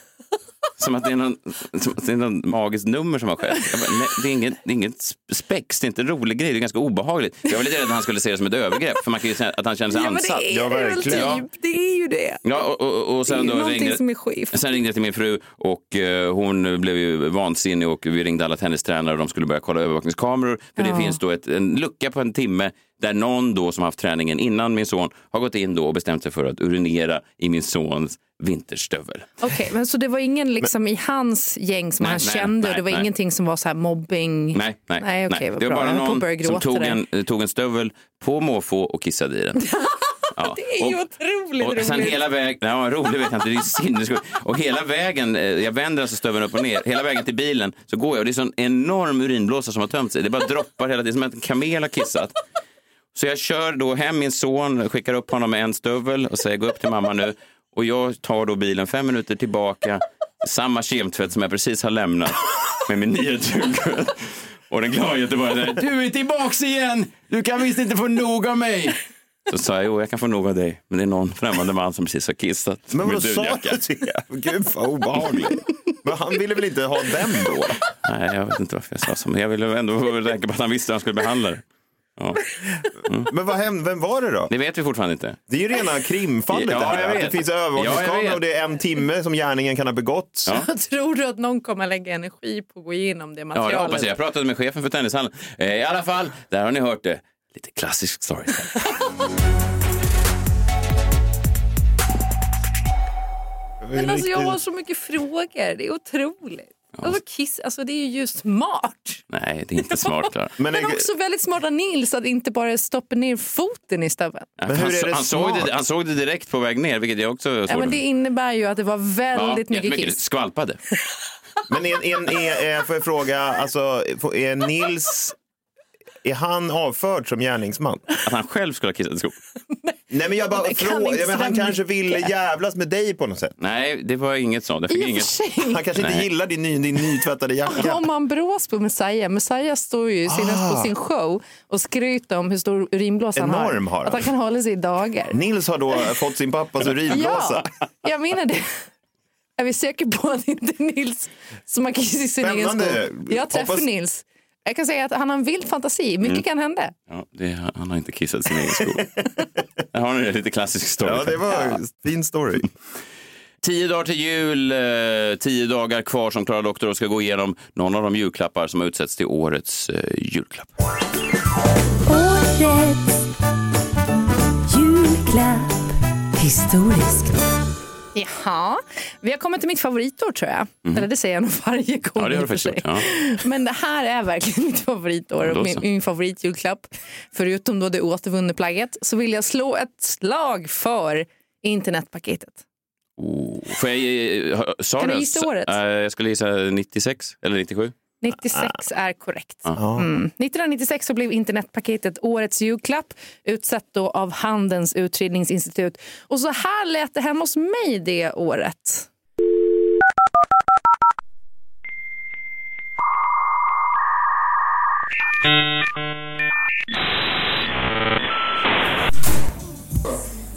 Speaker 2: Som att det är någon, som att det är någon magiskt nummer som har skett. Jag bara, nej, det, är inget, det är inget spex, det är inte en rolig grej, det är ganska obehagligt. Jag var lite rädd att han skulle se det som ett övergrepp, för man kan ju säga att han känner sig
Speaker 1: Ja, men
Speaker 2: ansatt.
Speaker 1: det är det väl typ. Det är ju det.
Speaker 2: Ja, och, och, och sen,
Speaker 1: det är
Speaker 2: då
Speaker 1: någonting
Speaker 2: ringde,
Speaker 1: som är skevt.
Speaker 2: sen ringde jag till min fru och eh, hon blev ju vansinnig och vi ringde alla tennistränare och de skulle börja kolla övervakningskameror. För
Speaker 1: Ja.
Speaker 2: det finns då ett, en lucka på en timme där någon då som haft träningen innan min son har gått in då och bestämt sig för att urinera i min sons vinterstövel.
Speaker 1: Okej, men så det var ingen liksom i hans gäng som
Speaker 2: Nej,
Speaker 1: han
Speaker 2: nej,
Speaker 1: kände?
Speaker 2: nej,
Speaker 1: det var
Speaker 2: nej.
Speaker 1: ingenting som var så här mobbing?
Speaker 2: Nej, nej,
Speaker 1: nej, okej, vad
Speaker 2: det var
Speaker 1: bra.
Speaker 2: bara
Speaker 1: Jag höll på att börja
Speaker 2: någon som
Speaker 1: gråta
Speaker 2: tog
Speaker 1: där.
Speaker 2: en, eh, tog en stövel på måfå och kissade i den. Ja,
Speaker 1: Det är ju otroligt
Speaker 2: Och
Speaker 1: roligt.
Speaker 2: sen hela vägen, ja rolig vet jag inte, det är sinnessjukt. Och hela vägen, eh, jag vänder alltså stöveln upp och ner, hela vägen till bilen så går jag och det är sån enorm urinblåsa som har tömt sig. Det bara droppar hela tiden, som att en kamel har kissat. Så jag kör då hem min son, skickar upp honom med en stövel och säger gå upp till mamma nu. Och jag tar då bilen fem minuter tillbaka, samma kemtvätt som jag precis har lämnat med min nya tugg. Och den glada göteborgaren säger, du är tillbaks igen! Du kan visst inte få nog av mig! Så sa jag, jo jag kan få nog av dig, men det är någon främmande man som precis har kissat.
Speaker 3: Men
Speaker 2: med
Speaker 3: vadå, sa
Speaker 2: dunjacka."
Speaker 3: du det? Gud vad obehagligt. Men han ville väl inte ha den då?
Speaker 2: Nej, jag vet inte varför jag sa så, men jag ville ändå vara säker på att han visste hur han skulle behandla det. Ja.
Speaker 3: Men vad hände, vem var det då?
Speaker 2: Det vet vi fortfarande inte.
Speaker 3: Det är ju rena krimfallet
Speaker 2: Ja,
Speaker 3: det här.
Speaker 2: jag
Speaker 3: att
Speaker 2: vet.
Speaker 3: Det finns
Speaker 2: Ja, jag
Speaker 3: övervakningskamera
Speaker 2: vet.
Speaker 3: och det är en timme som gärningen kan ha begått.
Speaker 1: Tror du att någon kommer lägga energi på att gå igenom det
Speaker 2: Ja,
Speaker 1: materialet?
Speaker 2: det hoppas jag. Jag pratade med chefen för tennishallen. Eh, I alla fall, där har ni hört det. Lite klassisk story.
Speaker 1: Men alltså, jag har så mycket frågor. Det är otroligt. Alltså, kiss, alltså, det är ju smart.
Speaker 2: Nej, det är inte smart, Klara.
Speaker 1: Men, också väldigt smart av Nils att inte bara stoppa ner foten i stöveln.
Speaker 2: Ja,
Speaker 3: hur
Speaker 2: han,
Speaker 3: är det
Speaker 2: han, såg
Speaker 3: smart?
Speaker 2: det, han såg det direkt på väg ner, vilket jag också såg.
Speaker 1: Ja, men det innebär ju att det var väldigt
Speaker 2: Ja,
Speaker 1: mycket
Speaker 2: jättemycket.
Speaker 1: kiss.
Speaker 2: Skvalpade.
Speaker 3: Men en, en, är, är, får jag fråga, alltså, får- är Nils, är han avförd som gärningsman?
Speaker 2: Att han själv skulle ha kissat i skon.
Speaker 3: Nej men jag bara
Speaker 1: Men kan
Speaker 3: frågar,
Speaker 1: inte
Speaker 3: ja, men han
Speaker 1: sådär
Speaker 3: kanske ville
Speaker 1: mycket.
Speaker 3: jävlas med dig på något sätt.
Speaker 2: Nej, det var inget sånt. Jag fick
Speaker 1: I och för
Speaker 2: inget.
Speaker 1: sig.
Speaker 3: Han kanske inte
Speaker 2: Nej.
Speaker 3: gillar din, ny, din nytvättade jacka.
Speaker 1: Har man brås på Messiah? Messiah står ju senast
Speaker 2: Ah.
Speaker 1: på sin show och skryter om hur stor urinblåsa han har.
Speaker 3: Enorm har han.
Speaker 1: Att han kan hålla sig i dagar.
Speaker 3: Nils har då fått sin pappas urinblåsa.
Speaker 1: Ja, jag menar det. Är vi säkra på att inte Nils som har kissat i sin egen sko?
Speaker 3: Spännande.
Speaker 1: Jag träffar
Speaker 3: Hoppas-
Speaker 1: Nils. Jag kan säga att han har en vild fantasi. Mycket
Speaker 2: Mm.
Speaker 1: kan hända.
Speaker 2: Ja, det, han har inte kissat i sin egen sko. Där har ni det. Lite klassisk story.
Speaker 3: Ja, det var en fin story.
Speaker 2: Tio dagar till jul, eh, tio dagar kvar som Klara Doktor ska gå igenom någon av de julklappar som har utsetts till årets eh, julklapp.
Speaker 10: Årets julklapp. Historiskt.
Speaker 1: Jaha. Vi har kommit till mitt favoritår, tror jag. Eller det säger jag nog varje
Speaker 2: Mm. Ja, det
Speaker 1: gång.
Speaker 2: har
Speaker 1: i
Speaker 2: du
Speaker 1: och för
Speaker 2: faktiskt
Speaker 1: sig.
Speaker 2: gjort. Ja.
Speaker 1: Men det här är verkligen mitt favoritår
Speaker 2: Ja, då
Speaker 1: och min,
Speaker 2: så.
Speaker 1: min favoritjulklapp. Förutom då det återvunna plagget så vill jag slå ett slag för internetpaketet.
Speaker 2: Oh. Får jag, ge- ha- sa
Speaker 1: Kan du
Speaker 2: jag-
Speaker 1: gissa året?
Speaker 2: Eh, jag skulle gissa 96 eller 97.
Speaker 1: 96 är korrekt.
Speaker 2: Ja.
Speaker 1: Mm. 1996 så blev internetpaketet årets julklapp, utsatt då av Handelns utredningsinstitut. Och så här lät det hemma hos mig det året.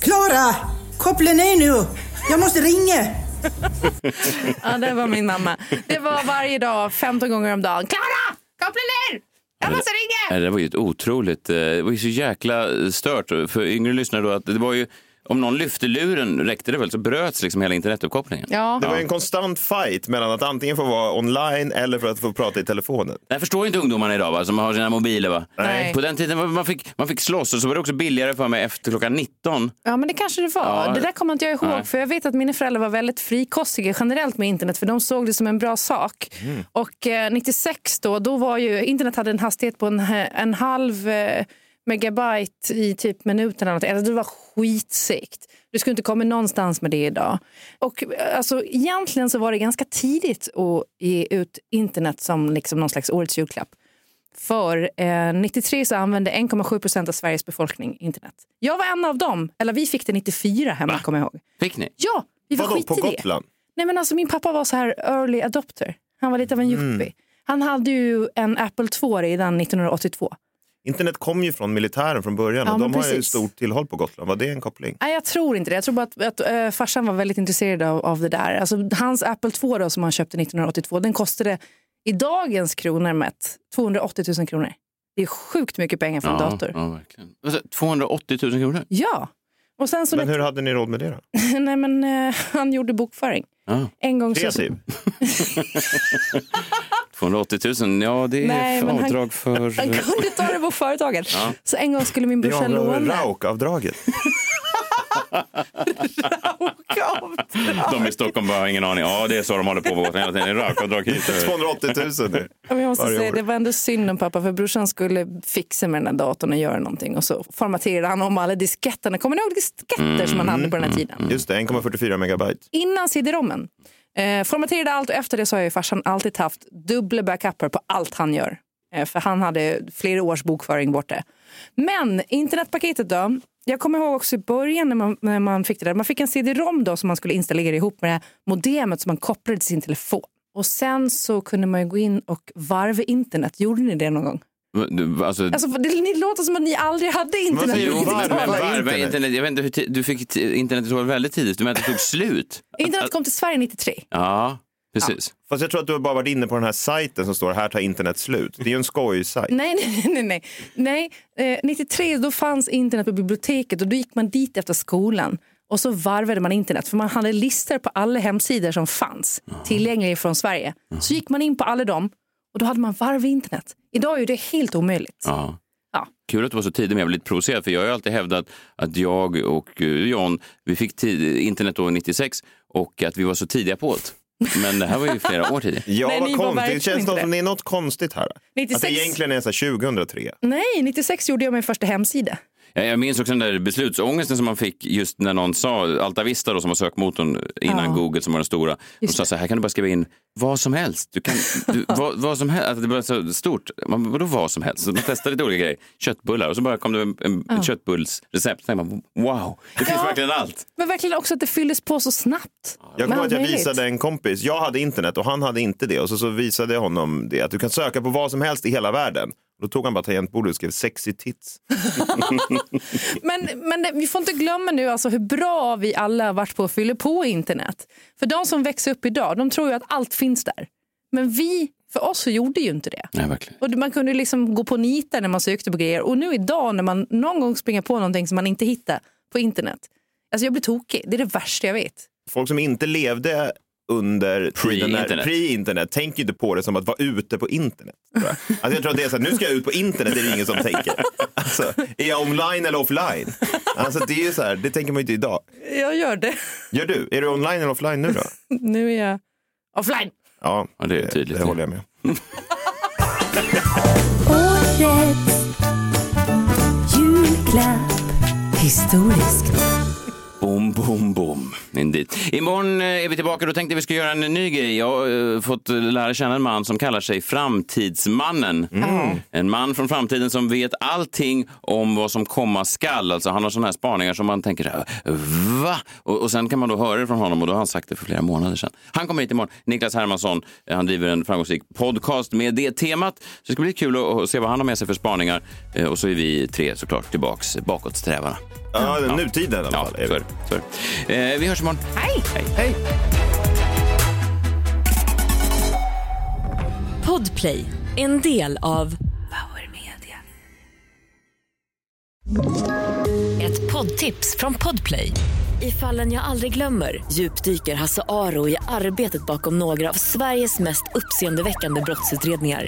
Speaker 12: Klara! Koppla ner nu! Jag måste ringa!
Speaker 1: Ja, det var min mamma. Det var varje dag, 15 gånger om dagen. Klara! Koppla ner! Jag måste ringa!
Speaker 2: Nej, Eh, Det var ju ett otroligt, eh, det var ju så jäkla eh, stört för yngre lyssnare då att det var ju, om någon lyfte luren räckte det väl så bröts liksom hela internetuppkopplingen.
Speaker 1: Ja.
Speaker 3: Det var en konstant fight mellan att antingen få vara online eller för att få prata i telefonen.
Speaker 2: Jag förstår inte ungdomarna idag va, som har sina mobiler. Va?
Speaker 1: Nej.
Speaker 2: På den tiden var- man fick man fick slåss och så var det också billigare för mig efter klockan 19.
Speaker 1: Ja, men det kanske det var.
Speaker 2: Ja.
Speaker 1: Det där kommer inte jag ihåg.
Speaker 2: Nej.
Speaker 1: För jag vet att mina föräldrar var väldigt frikostiga generellt med internet. För de såg det som en bra sak.
Speaker 2: Mm.
Speaker 1: Och eh, 96 då, då var ju internet hade en hastighet på en, en halv eh, megabyte i typ minuten. Eller något. Alltså, det var skitsegt. Du skulle inte komma någonstans med det idag. Och eh, alltså, egentligen så var det ganska tidigt att ge ut internet som liksom någon slags årets julklapp. För eh, 93 så använde 1,7 procent av Sveriges befolkning internet. Jag var en av dem, eller vi fick det 94 hemma kommer jag ihåg.
Speaker 2: Fick ni?
Speaker 1: Ja, vi var
Speaker 3: Vadå,
Speaker 1: skit
Speaker 3: på
Speaker 1: i det.
Speaker 3: Gotland?
Speaker 1: Nej men alltså min pappa var så här early
Speaker 3: Mm.
Speaker 1: adopter. Han var lite av en yuppie. Han hade ju en Apple 2 redan 1982.
Speaker 3: Internet kom ju från militären från början
Speaker 1: Ja,
Speaker 3: och de
Speaker 1: men
Speaker 3: har ju
Speaker 1: precis.
Speaker 3: stort tillhåll på Gotland. Var det en koppling?
Speaker 1: Nej, jag tror inte det. Jag tror bara att, att eh, farsan var väldigt intresserad av, av det där. Alltså, hans Apple II då, som han köpte 1982, den kostade i dagens kronor mätt 280 000 kronor. Det är sjukt mycket pengar för en
Speaker 2: Ja,
Speaker 1: dator.
Speaker 2: ja, verkligen. Alltså, 280 000 kronor?
Speaker 1: Ja. Och sen så
Speaker 3: Men hur hade ni råd med det då?
Speaker 1: Nej, men, eh, han gjorde bokföring.
Speaker 2: Ja.
Speaker 1: En gång
Speaker 3: Kreativ.
Speaker 1: Så...
Speaker 2: 280 000, ja det är
Speaker 1: Nej, men han-
Speaker 2: avdrag för...
Speaker 1: Han kunde ta det på företaget.
Speaker 2: Ja.
Speaker 1: Så en gång skulle min
Speaker 3: Det
Speaker 1: brorsa
Speaker 3: är
Speaker 1: låna.
Speaker 3: Rauk-avdraget.
Speaker 1: Oh,
Speaker 2: De i Stockholm bara har ingen aning. Ja, det är så de håller på på Gotland hela tiden. Raukavdrag hit.
Speaker 3: 280 000 nu.
Speaker 1: Ja, men Jag måste
Speaker 2: Varje
Speaker 1: säga,
Speaker 2: år.
Speaker 1: det var ändå synd om pappa, för brorsan skulle fixa med den där datorn och göra någonting. Och så formaterade han om alla disketterna. Kommer ni ihåg disketter
Speaker 2: Mm.
Speaker 1: som man hade på den här tiden?
Speaker 3: Just det, 1,44 megabyte.
Speaker 1: Innan cd-rommen. Eh, formaterade allt och efter det så har jag ju farsan alltid haft dubbla backuper på allt han gör. Eh, för han hade flera års bokföring borta. Men internetpaketet då. Jag kommer ihåg också i början när man, när man fick det där. Man fick en cd-rom då som man skulle installera ihop med det här modemet som man kopplade till sin telefon. Och sen så kunde man ju gå in och varva internet. Gjorde ni det någon gång?
Speaker 2: Du, Alltså,
Speaker 1: Alltså, det, ni låter som att ni aldrig hade internet.
Speaker 2: Jo,
Speaker 1: Inte
Speaker 2: men
Speaker 1: var-
Speaker 2: varva internet. Jag vet inte hur ti- du fick t- internet tror jag väldigt tidigt. Du menar att det tog slut?
Speaker 1: Internet kom till Sverige 93.
Speaker 2: Ja, precis.
Speaker 3: Fast jag tror att du har bara varit inne på den här sajten som står här tar internet slut. Det är ju en skojsajt.
Speaker 1: Nej, nej, nej. nej. nej eh, 93 då fanns internet på biblioteket och då gick man dit efter skolan och så varvade man internet för man hade listor på alla hemsidor som fanns tillgängliga från Sverige. Så gick man in på alla dem och då hade man varv i internet. Idag är ju det helt omöjligt.
Speaker 2: Ja.
Speaker 1: Ja.
Speaker 2: Kul att du var så tidig, men jag blev lite provocerad. För jag har ju alltid hävdat att jag och eh, John, vi fick tid, internet år 96 och att vi var så tidiga på det. Men det här var ju flera år tidigare.
Speaker 3: Ja,
Speaker 1: Nej, ni
Speaker 3: vad
Speaker 1: var
Speaker 3: konstigt. Det
Speaker 1: verkligen
Speaker 3: känns
Speaker 1: inte
Speaker 3: något,
Speaker 1: det.
Speaker 3: som det är något konstigt här. Att
Speaker 1: 96.
Speaker 3: det egentligen är så här 2003.
Speaker 1: Nej, 96 gjorde jag min första hemsida.
Speaker 2: Jag, jag minns också den där beslutsångesten som man fick just när någon sa, Altavista då, som var sökmotorn innan
Speaker 1: Ja.
Speaker 2: Google som var den stora, de sa så här, här kan du bara skriva in vad som helst. Du kan, du, vad, vad som helst. Alltså, det var så stort. Man, vadå vad som helst? Så man testade lite olika grejer. Köttbullar och så bara kom det en, en
Speaker 1: Ja.
Speaker 2: ett köttbullsrecept. Så tänkte man, wow, det finns verkligen allt.
Speaker 1: Men verkligen också att det fylldes på så snabbt.
Speaker 3: Jag kommer
Speaker 1: Med
Speaker 3: ihåg
Speaker 1: allt
Speaker 3: att jag
Speaker 1: möjligt.
Speaker 3: visade en kompis, jag hade internet och han hade inte det. Och så, så visade jag honom det, att du kan söka på vad som helst i hela världen. Då tog han bara tangentbordet och skrev sexy tits.
Speaker 1: Men, men det- vi får inte glömma nu alltså hur bra vi alla har varit på att fylla på internet. För de som växer upp idag, de tror ju att allt finns där. Men vi, för oss så gjorde ju inte det.
Speaker 2: Nej, verkligen.
Speaker 1: Och man kunde ju liksom gå på nitar när man sökte på grejer. Och nu idag när man någon gång springer på någonting som man inte hittar på internet. Alltså jag blir tokig, det är det värsta jag vet.
Speaker 3: Folk som inte levde under tiden när-
Speaker 2: Pre-internet.
Speaker 3: pre-internet tänker ju inte på det som att vara ute på internet. Tror jag. Alltså jag tror att det är så här, nu ska jag ut på internet, det är det ingen som tänker. Alltså, är jag online eller offline? Alltså det är ju så här, det tänker man ju inte idag.
Speaker 1: Jag gör det.
Speaker 3: Gör du, är du online eller offline nu då?
Speaker 1: Nu är jag offline.
Speaker 3: Ja, det, är tydligt, det, håller jag med
Speaker 10: Årets julklapp. Historisk.
Speaker 2: Bom, bom, bom. Indeed. Imorgon eh, är vi tillbaka. Då tänkte vi skulle göra en ny grej. Jag har eh, fått lära känna en man som kallar sig Framtidsmannen. Mm. En man från framtiden som vet allting om vad som komma skall. Alltså, han har sådana här spaningar som man tänker, så här, va? Och, och sen kan man då höra det från honom och då har han sagt det för flera månader sedan. Han kommer hit imorgon. Niklas Hermansson, eh, han driver en framgångsrik podcast med det temat. Så det ska bli kul att, att se vad han har med sig för spaningar. Eh, Och så är vi tre såklart tillbaks eh, bakåtsträvarna.
Speaker 3: Ja, nutiden i alla fall.
Speaker 2: Ja, så är det. så är det. Eh, vi hörs imorgon.
Speaker 1: Hej!
Speaker 2: Hej.
Speaker 10: Podplay. En del av
Speaker 8: Ett poddtips från Podplay. I fallen jag aldrig glömmer djupdyker Hasse Aro i arbetet bakom några av Sveriges mest uppseendeväckande brottsutredningar.